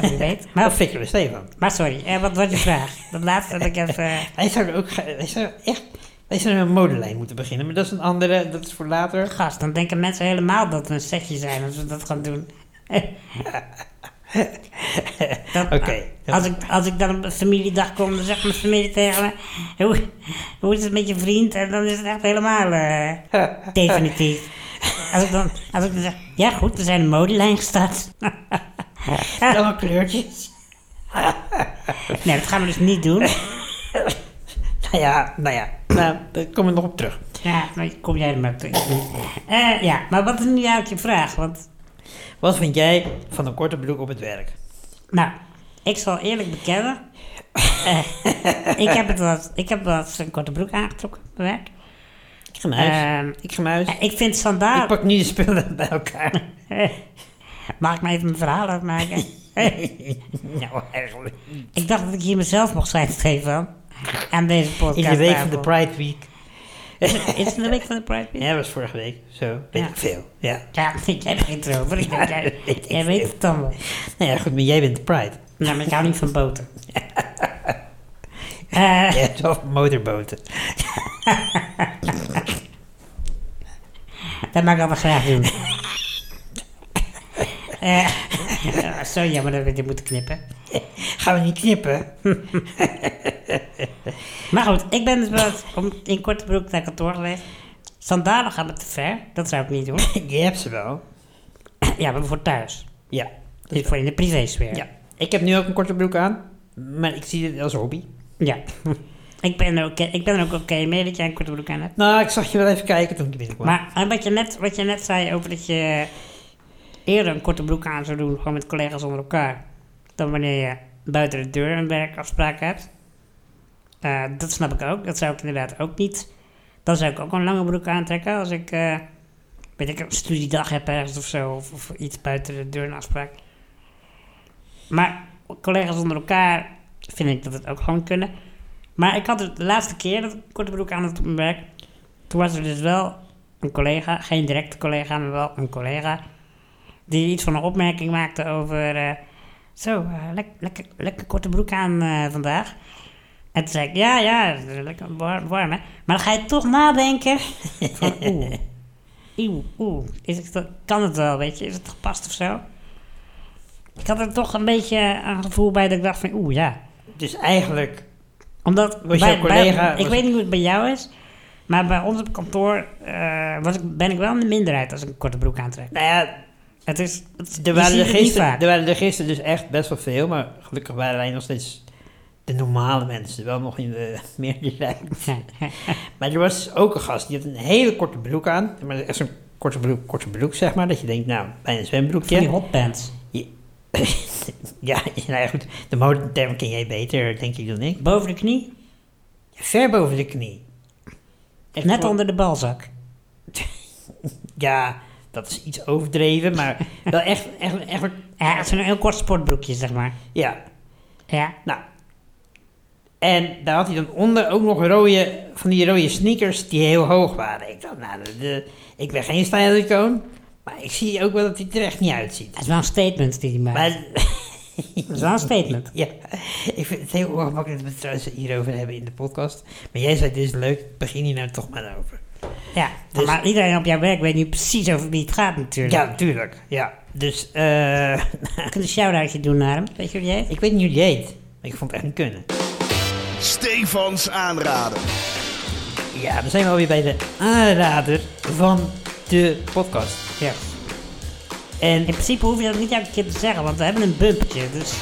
wie weet.
Maar
Maar,
Victor en Steven.
maar sorry, eh, wat was je vraag? Dat laatste dat ik even... eh,
Wij zouden ook, ge- wij zouden echt, wij zouden een modelijn moeten beginnen. Maar dat is een andere, dat is voor later.
Gast, dan denken mensen helemaal dat we een setje zijn als we dat gaan doen. Dan-
Oké.
Als, ik, als ik dan op een familiedag kom, dan zegt mijn familie tegen me... Hoe, hoe is het met je vriend? En dan is het echt helemaal eh, definitief. Als ik, dan, als ik dan zeg, ja goed, we zijn een modelijn gestart.
Allemaal kleurtjes.
Nee, dat gaan we dus niet doen.
Nou ja, nou ja, nou, daar komen we nog op terug.
Ja, maar kom jij er maar terug. Eh, ja, maar wat is nu eigenlijk je vraag? Want,
Wat vind jij van een korte broek op het werk?
nou, ik zal eerlijk bekennen. eh, ik heb het wel eens- ik heb wel eens een korte broek aangetrokken op mijn werk.
Ik ga naar huis.
Ehm,
Eh, ik ga naar huis. Ah.
ik vind
Ik
sandalen...
pak nu de spullen bij elkaar.
Mag ik maar even mijn verhaal afmaken?
nou, eigenlijk.
ik dacht dat ik hier mezelf mocht zijn, Stefan. Aan deze podcast.
In de week van de Pride Week.
Is het in de week van de Pride Week?
Ja, dat was vorige week. Zo, weet
Ja.
ik veel. Ja.
Ja, jij begint erover. Ik denk, jij,
Ja, weet ik
jij weet
veel.
het dan wel.
Nou ja, goed, maar jij bent de Pride.
Nou, maar ik hou niet van boter. Eh,
Jij hebt zelf motorboten.
Dat mag ik altijd graag doen. Eh, ja, zo jammer dat we dit moeten knippen.
Gaan we niet knippen?
Maar goed, ik ben dus wel eens om, in korte broek naar kantoor geweest. Sandalen gaan me te ver. Dat zou ik niet doen.
Je hebt ze wel.
Ja, maar voor thuis.
Ja.
Dus voor in de privésfeer.
ja. Ik heb nu ook een korte broek aan. Maar ik zie dit als hobby.
Ja. ik, ben er oké- ik ben er ook oké mee dat jij een korte broek aan hebt.
Nou, ik zag je wel even kijken toen ik binnenkwam.
Maar eh, wat je, net, wat je net zei over dat je eerder een korte broek aan zou doen, gewoon met collega's onder elkaar, dan wanneer je buiten de deur een werkafspraak hebt. Eh, dat snap ik ook. Dat zou ik inderdaad ook niet. Dan zou ik ook een lange broek aantrekken als ik, eh, weet ik, een studiedag heb ergens of zo, of, of iets buiten de deur een afspraak. Maar collega's onder elkaar vind ik dat het ook gewoon kunnen. Maar ik had het de laatste keer dat ik een korte broek aan had op mijn werk. Toen was er dus wel een collega, geen directe collega, maar wel een collega. Die iets van een opmerking maakte over. eh, zo, eh, lek- lekker, lekker korte broek aan eh, vandaag. En toen zei ik: Ja, ja, lekker warm, warm hè. Maar dan ga je toch nadenken. Van, oeh, oeh, oeh. Is het, dat- kan het wel, weet je? Is het gepast of zo? Ik had er toch een beetje een gevoel bij dat ik dacht: van, Oeh, ja.
Dus eigenlijk
Omdat
Was
bij,
jouw collega-
bij- ik
was-
weet niet hoe het bij jou is, maar bij ons op kantoor eh, was ik, ben ik wel in de minderheid als ik een korte broek aantrek.
Nou ja,
Het is, het,
er
je
waren
ziet
er,
het niet
gisteren,
vaak.
er waren er gisteren dus echt best wel veel, maar gelukkig waren wij nog steeds de normale mensen. Wel nog in de meerderheid. Maar er was ook een gast, die had een hele korte broek aan. Maar echt zo'n korte broek, korte broek, zeg maar. Dat je denkt, nou, bijna een
Van die
zwembroekje.
hotpants.
ja, nou ja, goed. De modeterm ken jij beter, denk ik, dan ik.
Boven de knie,
Ver boven de knie. Echt
net
wel-
onder de balzak.
Ja, dat is iets overdreven, maar wel echt, echt, echt...
Ja, het is een heel kort sportbroekje, zeg maar.
Ja,
Ja.
nou. En daar had hij dan onder ook nog rode, van die rode sneakers die heel hoog waren. Ik dacht, nou, de, de- ik ben geen stijlicoon, maar ik zie ook wel dat hij er echt niet uitziet.
Het is wel een statement die hij maakt.
Maar
Het is wel een statement.
ja, ik vind het heel ongemakkelijk dat we het trouwens hierover hebben in de podcast. Maar jij zei, dit is leuk, begin hier nou toch maar over.
Ja,
Dus-
maar iedereen op jouw werk weet nu precies over wie het gaat natuurlijk.
Ja, tuurlijk. Ja, dus eh,
Je kunt een shout-outje doen naar hem. Weet je hoe die heet?
ik weet niet hoe die heet. maar Ik vond het echt niet kunnen.
Stefans aanraden.
Ja, dan zijn we alweer bij de aanrader van de podcast.
Ja.
En
In principe hoef je dat niet elke keer te zeggen, want we hebben een bumpje. Dus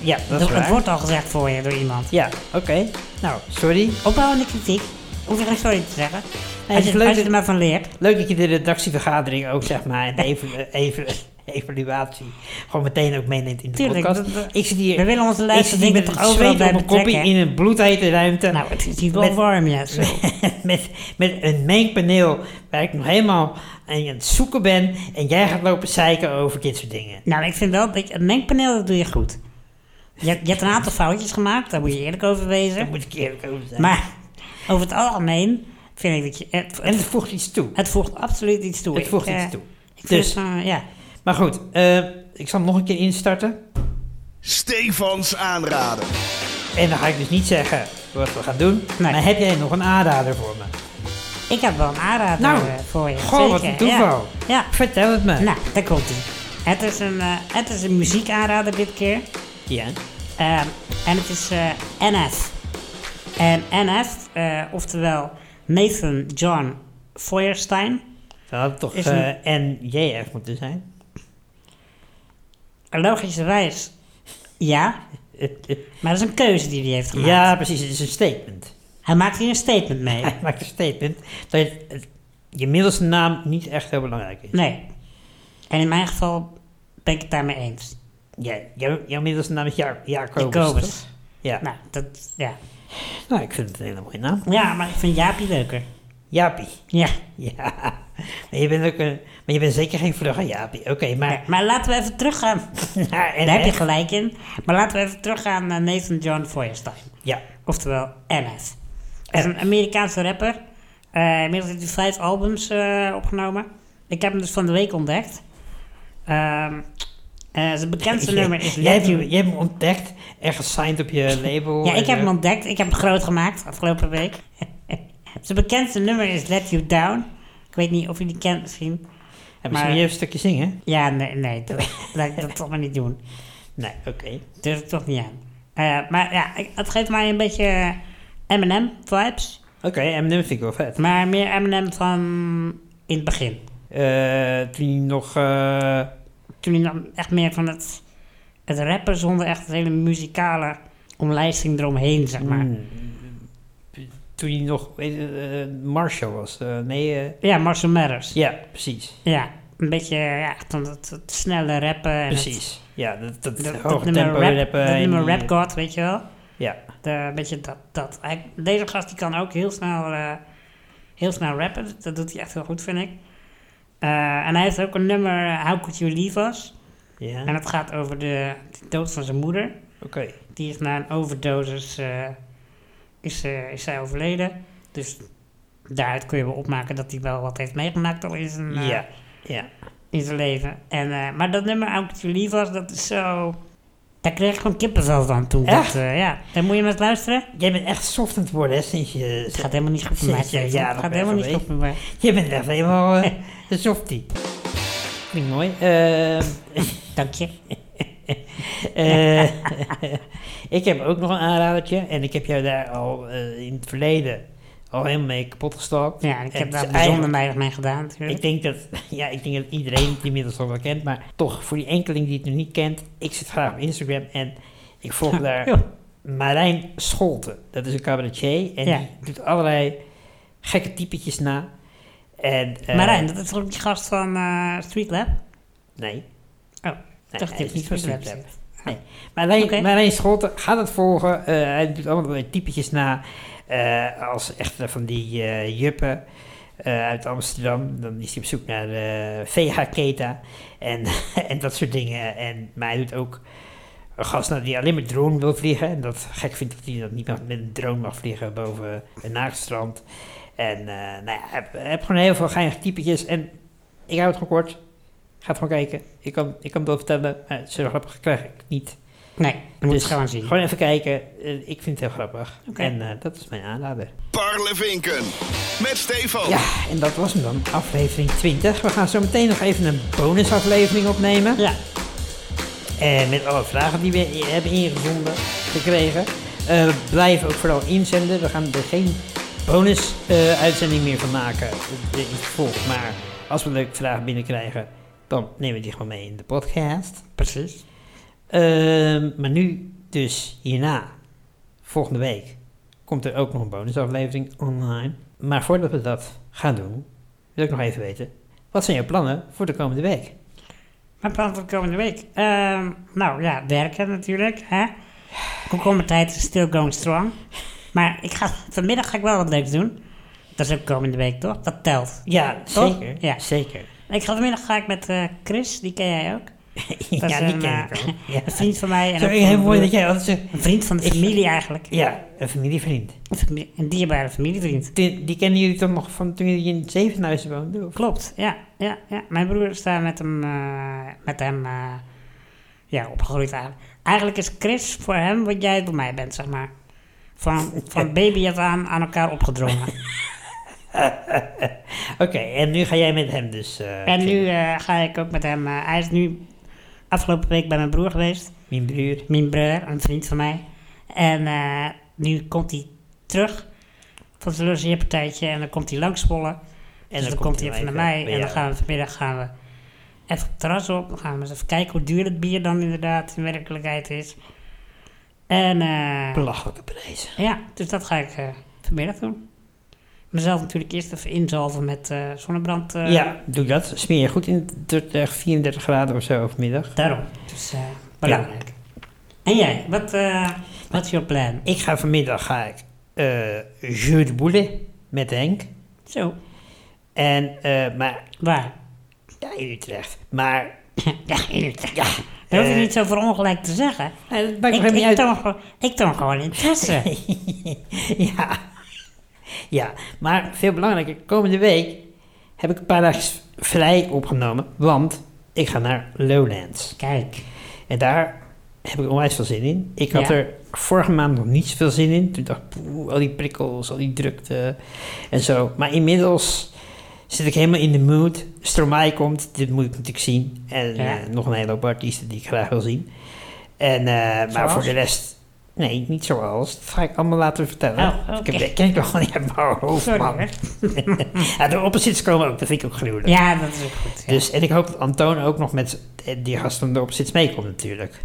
ja, dat is
het
waar.
wordt al gezegd voor je door iemand.
Ja, oké. Nou, sorry.
Opbouwende kritiek. Hoef je geen sorry te zeggen.
het
Als
is
je,
leuk
als je
dat-
er maar van leert.
Leuk dat je de redactievergadering ook, zeg maar, en de eva- eva- evaluatie gewoon meteen ook meeneemt in de
Tuurlijk,
podcast.
dat- dat-
ik zit hier,
we willen onze
ik zit
luisteraars
hier met
toch
een
overal
zweet
bij
op mijn
betrekken.
kopje in een bloedhete ruimte.
Nou, het is hier wel
Met-
warm, ja. Zo.
met, met een mengpaneel waar ik nog helemaal aan het zoeken ben. En jij gaat lopen zeiken over dit soort dingen.
nou, ik vind wel, dat je- het mengpaneel, dat doe je goed. Je, hebt- je hebt een aantal foutjes gemaakt, daar moet je eerlijk over
Daar
wezen.
moet ik eerlijk over zijn.
Maar over het algemeen vind ik dat je... Het,
en
het,
het voegt iets toe.
het voegt absoluut iets toe.
Het voegt
Ik, eh,
iets toe.
Ik vind
Dus,
het, eh, ja.
maar goed, eh, ik zal hem nog een keer instarten.
Stefans aanraden.
En dan ga ik dus niet zeggen wat we gaan doen.
Nee.
Maar heb jij nog een aanrader voor me?
Ik heb wel een aanrader
Nou,
eh, voor je.
goh, wat
zeker,
een toeval.
Ja. ja.
Vertel het me.
Nou, daar komt ie. Het is een, eh, het is een muziekaanrader dit keer.
Ja.
Ehm, en het is eh, NF. En NF, eh, oftewel Nathan John Feuerstein.
Dat had toch
Is een-
eh, NJF moeten zijn?
Logischerwijs, ja. Maar dat is een keuze die hij heeft gemaakt.
ja, precies. Het is een statement.
Hij maakt hier een statement mee.
Hij maakt een statement dat het- het- je middelste naam niet echt heel belangrijk is.
Nee. En in mijn geval ben ik het daarmee eens.
Ja, jou- jouw middelste naam is ja Jacobus. toch?
Jacobus.
Ja. Nou.
Nou, dat, ja.
ik vind het een hele mooie naam.
Ja, maar ik vind Jaapie leuker.
Jaapie.
Ja.
Ja. Maar je bent, ook een, maar je bent zeker geen vlug aan Jaapie. Oké, maar...
Nee, maar laten we even teruggaan.
Ja, en
Daar heb je
echt-
gelijk in. Maar laten we even teruggaan naar Nathan John Feuerstein.
Ja.
Oftewel NF. Hij is een Amerikaanse rapper. Eh, inmiddels heeft hij vijf albums eh, opgenomen. Ik heb hem dus van de week ontdekt. Ehm, eh, zijn bekendste nummer is...
Jij hebt,
Let You-
je, hebt hem ontdekt en gesigned op je label.
Ja,
en
ik heb
zo.
hem ontdekt. Ik heb hem groot gemaakt afgelopen week. zijn bekendste nummer is Let You Down. Ik weet niet of je die kent misschien.
En misschien
maar-
even een stukje zingen?
Ja, nee, nee. Dat, laat ik dat toch maar niet doen.
Nee, oké.
durf ik toch niet aan. Eh, maar ja, ik- het geeft mij een beetje eh, M&M-vibes.
Oké, en dat vind ik wel vet.
Maar meer M&M van in het begin.
Eh, toen hij nog... eh,
Toen hij dan echt meer van het, het rappen zonder echt een hele muzikale omlijsting eromheen, zeg maar.
mm, toen hij nog weet je, eh, Marshall was. Eh, nee, eh,
Ja, Marcel Matters.
ja, precies.
Ja, een beetje ja, van dat, dat snelle rappen. En het-
Precies. Ja, dat, dat,
dat, dat
hoge
nummer
tempo
rap,
rappen.
dat
en
nummer
die-
Rap God, weet je wel.
Ja,
De, een beetje dat, dat. Hij- deze gast die kan ook heel snel, eh, heel snel rappen. Dat- Dat doet hij echt heel goed, vind ik. Eh, en hij heeft ook een nummer, eh, How Could You Leave Us?
ja.
En dat gaat over de, de dood van zijn moeder.
oké.
Die is na een overdosis eh, is, eh, is zij overleden. Dus daaruit kun je wel opmaken dat hij wel wat heeft meegemaakt al in zijn, eh,
Ja, ja.
in zijn leven. En, eh, maar dat nummer, How Could You Leave Us, dat is zo... Daar kreeg ik gewoon kippenvel van toen.
Echt?
Dat, eh, ja, daar moet je maar eens luisteren.
Jij bent echt soft aan het worden, hè, sinds je...
Het gaat helemaal niet goed voor mij.
Sinds je
Steven.
jarig
het gaat
bent
helemaal niet
geweest.
goed voor mij.
Je bent echt helemaal eh, een softie. Klinkt mooi. Eh,
Dank je.
Eh, ik heb ook nog een aanradertje. En ik heb jou daar al eh, in het verleden al helemaal mee kapot gestalkt.
Ja, en ik
En
heb
het
daar
is
bijzonder
eigenlijk-
weinig mee gedaan natuurlijk.
Ik denk, dat, ja, ik denk dat iedereen het inmiddels al wel kent. Maar toch, voor die enkeling die het nog niet kent. Ik zit graag op Instagram en ik volg daar
Ja.
Marijn Scholte. Dat is een cabaretier. En
Ja.
die doet allerlei gekke typetjes na. En, eh,
Marijn, dat is toch ook die gast van eh Street Lab? Oh,
Nee. Nee,
dacht
hij
ik
is
niet van Street
Street
Lab.
Nee. Marijn,
Oké.
Marijn Scholten gaat het volgen. Eh, hij doet allemaal weer typetjes na. eh, als echt van die eh, juppen eh, uit Amsterdam. Dan is hij op zoek naar eh Vega Keta. En, en dat soort dingen. En, maar hij doet ook een gast naar die alleen met drone wil vliegen. En dat gek vindt dat hij dat niet mag, met een drone mag vliegen boven een naagstrand. En eh, nou ja, heb, heb gewoon heel veel geinige typetjes. En ik hou het gewoon kort. Ga het gewoon kijken. Ik kan, ik kan het wel vertellen, maar zo grappig krijg ik het niet.
Nee, dat moet je
Dus
gewoon zien.
Gewoon even kijken. Eh, ik vind het heel grappig.
Oké.
En eh, dat is mijn aanrader.
Parlevinken. Met Stefan.
Ja, en dat was hem dan. Aflevering 20. We gaan zo meteen nog even een bonusaflevering opnemen.
Ja,
En met alle vragen die we i- hebben ingezonden gekregen. Eh, blijf ook vooral inzenden. We gaan er geen bonus eh, uitzending meer van maken eh, in het vervolg. Maar als we leuke vragen binnenkrijgen, dan nemen we die gewoon mee in de podcast.
precies.
Ehm, maar nu dus hierna, volgende week, komt er ook nog een bonusaflevering online. Maar voordat we dat gaan doen, wil ik nog even weten, wat zijn jouw plannen voor de komende week?
Mijn plan voor de komende week. Ehm, nou ja, werken natuurlijk. Hè? Komkommertijd is still going strong. Maar ik ga, vanmiddag ga ik wel wat leuks doen. Dat is ook komende week, toch? Dat telt.
Ja,
Toch?
zeker.
Ja.
Zeker.
Ik ga vanmiddag ga ik met eh, Chris, die ken jij ook. Dat
ja,
is
die
een,
ken
eh,
ik ook. Ja.
Een vriend van mij. En ook
Sorry,
van
heel
mijn
mooi dat
broer.
jij altijd zegt,
Een vriend van de
Ik-
familie eigenlijk.
ja, een familievriend.
Een familie- Een dierbare familievriend.
Die, die kenden jullie toch nog van toen jullie in het Zevenhuizen woonden? Of?
Klopt, ja, ja, ja. Mijn broer is daar met hem, eh, met hem eh, ja, opgegroeid eigenlijk. Eigenlijk is Chris voor hem wat jij voor mij bent, zeg maar. Van, van baby af aan aan elkaar opgedrongen.
Oké, en nu ga jij met hem dus. eh,
en nu
chillen.
eh, ga ik ook met hem... eh, hij is nu afgelopen week bij mijn broer geweest.
Mijn broer.
Mijn broer, een vriend van mij. En eh, nu komt hij terug van zijn logeerpartijtje. En dan komt hij langs Zwolle. En dan, komt hij even naar
even
mij
bij
en dan
jou.
gaan we vanmiddag gaan we even op het terras op. Dan gaan we eens even kijken hoe duur het bier dan inderdaad in werkelijkheid is. En eh,
Belachelijke prijzen.
ja, dus dat ga ik eh, vanmiddag doen. Mezelf natuurlijk eerst even inzalven met eh, zonnebrand. eh,
ja, doe dat. Smeer je goed in 30, 34 graden of zo overmiddag.
Daarom. Dus eh, belangrijk. En jij, wat eh, wat is jouw plan?
Ik ga vanmiddag ga ik eh jeu de boule met Henk.
Zo,
En, eh, maar,
waar?
ja, in Utrecht. Maar,
ja, inderdaad.
ja.
Dat hoef je
eh,
niet zo voor ongelijk te zeggen.
eh, dat
Ik,
maakt nog helemaal
ik,
niet uit.
toon gewoon, ik toon gewoon interesse.
ja. ja, maar veel belangrijker, komende week heb ik een paar dagen vrij opgenomen, want ik ga naar Lowlands.
Kijk,
En daar heb ik onwijs veel zin in. Ik had
Ja.
er vorige maand nog niet zoveel zin in. Toen dacht ik, poeh, al die prikkels, al die drukte en zo. Maar inmiddels zit ik helemaal in de mood. Stromae komt, dit moet ik natuurlijk zien. En
Ja.
eh, nog een hele hoop artiesten die ik graag wil zien. En, eh, maar
Zoals?
voor de rest, nee, niet zoals. Dat ga ik allemaal laten vertellen.
Oh, oké.
Ik heb dat ken ik nog gewoon niet uit mijn hoofd,
sorry
man.
hoor.
ja, de opposites komen ook, dat vind ik ook gruwelijk.
Ja, dat is ook goed. ja.
Dus, en ik hoop dat Antoon ook nog met z- eh, die gast van de opzits meekomt natuurlijk.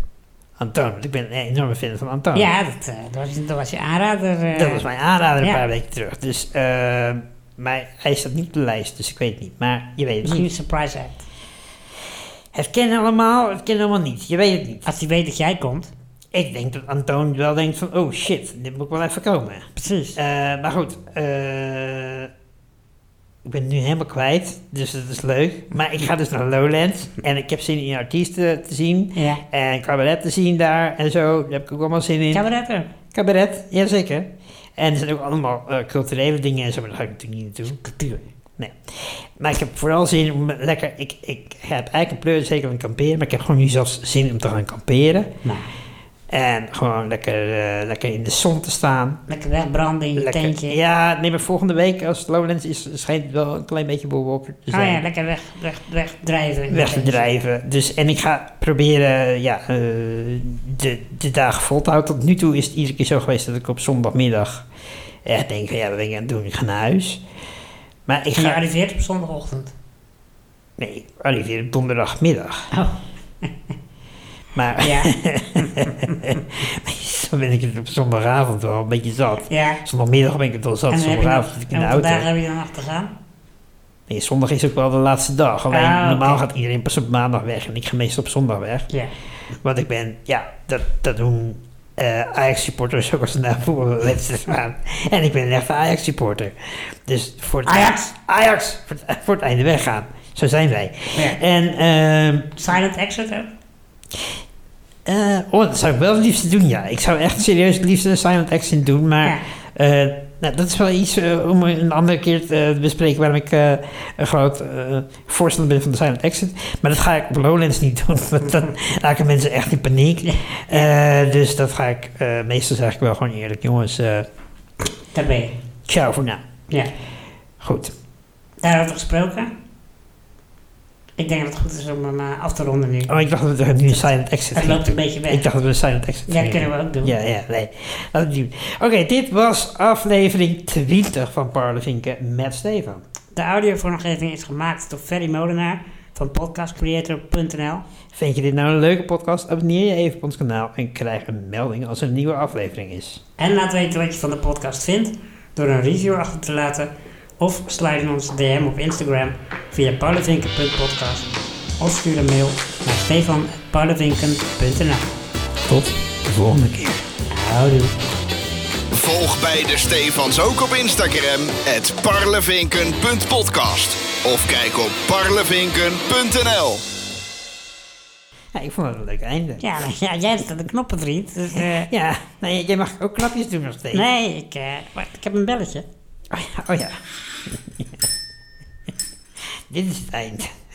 Antoon, want ik ben een enorme fan van Antoon.
Ja, dat, eh, dat, was, dat was je aanrader. eh.
Dat was mijn aanrader een
Ja.
paar weken terug. Dus, eh, maar hij staat niet op de lijst, dus ik weet het niet. Maar je weet het
Misschien
niet.
een surprise act.
Het kennen allemaal, het kennen allemaal niet. Je weet het niet.
Als hij weet dat jij komt.
Ik denk dat Antoon wel denkt van, oh shit, dit moet wel even komen.
Precies.
Eh, maar goed, eh, ik ben het nu helemaal kwijt, dus dat is leuk. Maar ik ga dus naar Lowlands en ik heb zin in artiesten te zien.
Ja.
En cabaret te zien daar en zo, daar heb ik ook allemaal zin in.
Cabaretter.
cabaret, jazeker. En er zijn ook allemaal eh, culturele dingen en zo, maar daar ga ik natuurlijk niet naartoe. Cultuur. Nee. Maar ik heb vooral zin om lekker, ik, ik heb eigenlijk een pleur zeker aan kamperen, maar ik heb gewoon nu zelfs zin om te gaan kamperen.
Nou,
En gewoon lekker, eh, lekker in de zon te staan.
Lekker wegbranden in je
Lekker-
tentje.
Ja, nee, maar volgende week als Lowlands is, schijnt het wel een klein beetje Dus bewolkt te
Oh
zijn.
ja, lekker weg, weg, wegdrijven. in je
weg te
tentje.
drijven. Dus, en ik ga proberen ja, eh, de, de dagen vol te houden. Tot nu toe is het iedere keer zo geweest dat ik op zondagmiddag echt denk van ja, wat ben ik aan het doen? Ik ga naar huis. Maar ik
En je
ga...
arriveert op zondagochtend.
Nee, ik arriveer op donderdagmiddag.
Oh.
Maar
Ja,
dan ben ik het op zondagavond wel een beetje zat.
ja.
Zondagmiddag ben ik het al zat,
en dan heb je
zondagavond
nog,
zit ik in
en
de
hoeveel
auto.
dagen heb je dan nog te gaan?
Nee, zondag is ook wel de laatste dag. Alleen,
Ah,
normaal
oké.
gaat iedereen pas op maandag weg en ik ga meestal op zondag weg.
Ja.
Want ik ben, ja, dat, dat doen eh, Ajax-supporters ook als ze naar voetbalwedstrijd gaan. En ik ben een echte Ajax-supporter. Dus voor het,
Ajax!
Ajax! Voor het, voor het einde weggaan. Zo zijn wij.
Ja.
En, ehm,
Silent exit ook?
eh, oh, dat zou ik wel het liefste doen, ja. Ik zou echt serieus het liefste een silent action doen, maar...
Ja.
eh, nou, dat is wel iets eh, om een andere keer te eh, bespreken waarom ik eh, een groot eh, voorstander ben van de silent exit. Maar dat ga ik op Lowlands niet doen, want dan raken mensen echt in paniek. Eh, dus dat ga ik eh, meestal zeg ik wel gewoon eerlijk. Jongens, eh
Daar ben je.
ciao voor nou.
Ja.
Goed.
Daarover gesproken. Ik denk dat het goed is om hem eh, af te ronden nu.
Oh, ik dacht dat we nu een silent exit
Het
gingen
loopt een
doen.
beetje weg.
Ik dacht dat we een silent exit
Ja, dat
gingen
kunnen we ook doen.
Ja, ja, nee. Laten we het doen. Oké, dit was aflevering 20 van Parlevinken met Stefan.
De audiovormgeving is gemaakt door Ferry Molenaar van podcastcreator.nl.
Vind je dit nou een leuke podcast? Abonneer je even op ons kanaal en krijg een melding als er een nieuwe aflevering is.
En laat weten wat je van de podcast vindt door een review achter te laten. Of sluit in onze DM op Instagram via paulevinken.podcast. Of stuur een mail naar stefan.paulevinken.nl
Tot de volgende keer.
Houdoe.
Volg bij de Stefans ook op Instagram. Het parlevinken.podcast. Of kijk op parlevinken.nl.
Ja, ik vond het een leuk einde.
Ja, nou ja, jij staat de knoppen, vriend. Dus, eh,
Ja, nee, jij mag ook knapjes doen nog steeds.
nee, ik, eh, wacht, ik heb een belletje.
Oh ja. Oh ja. Dit is het eind.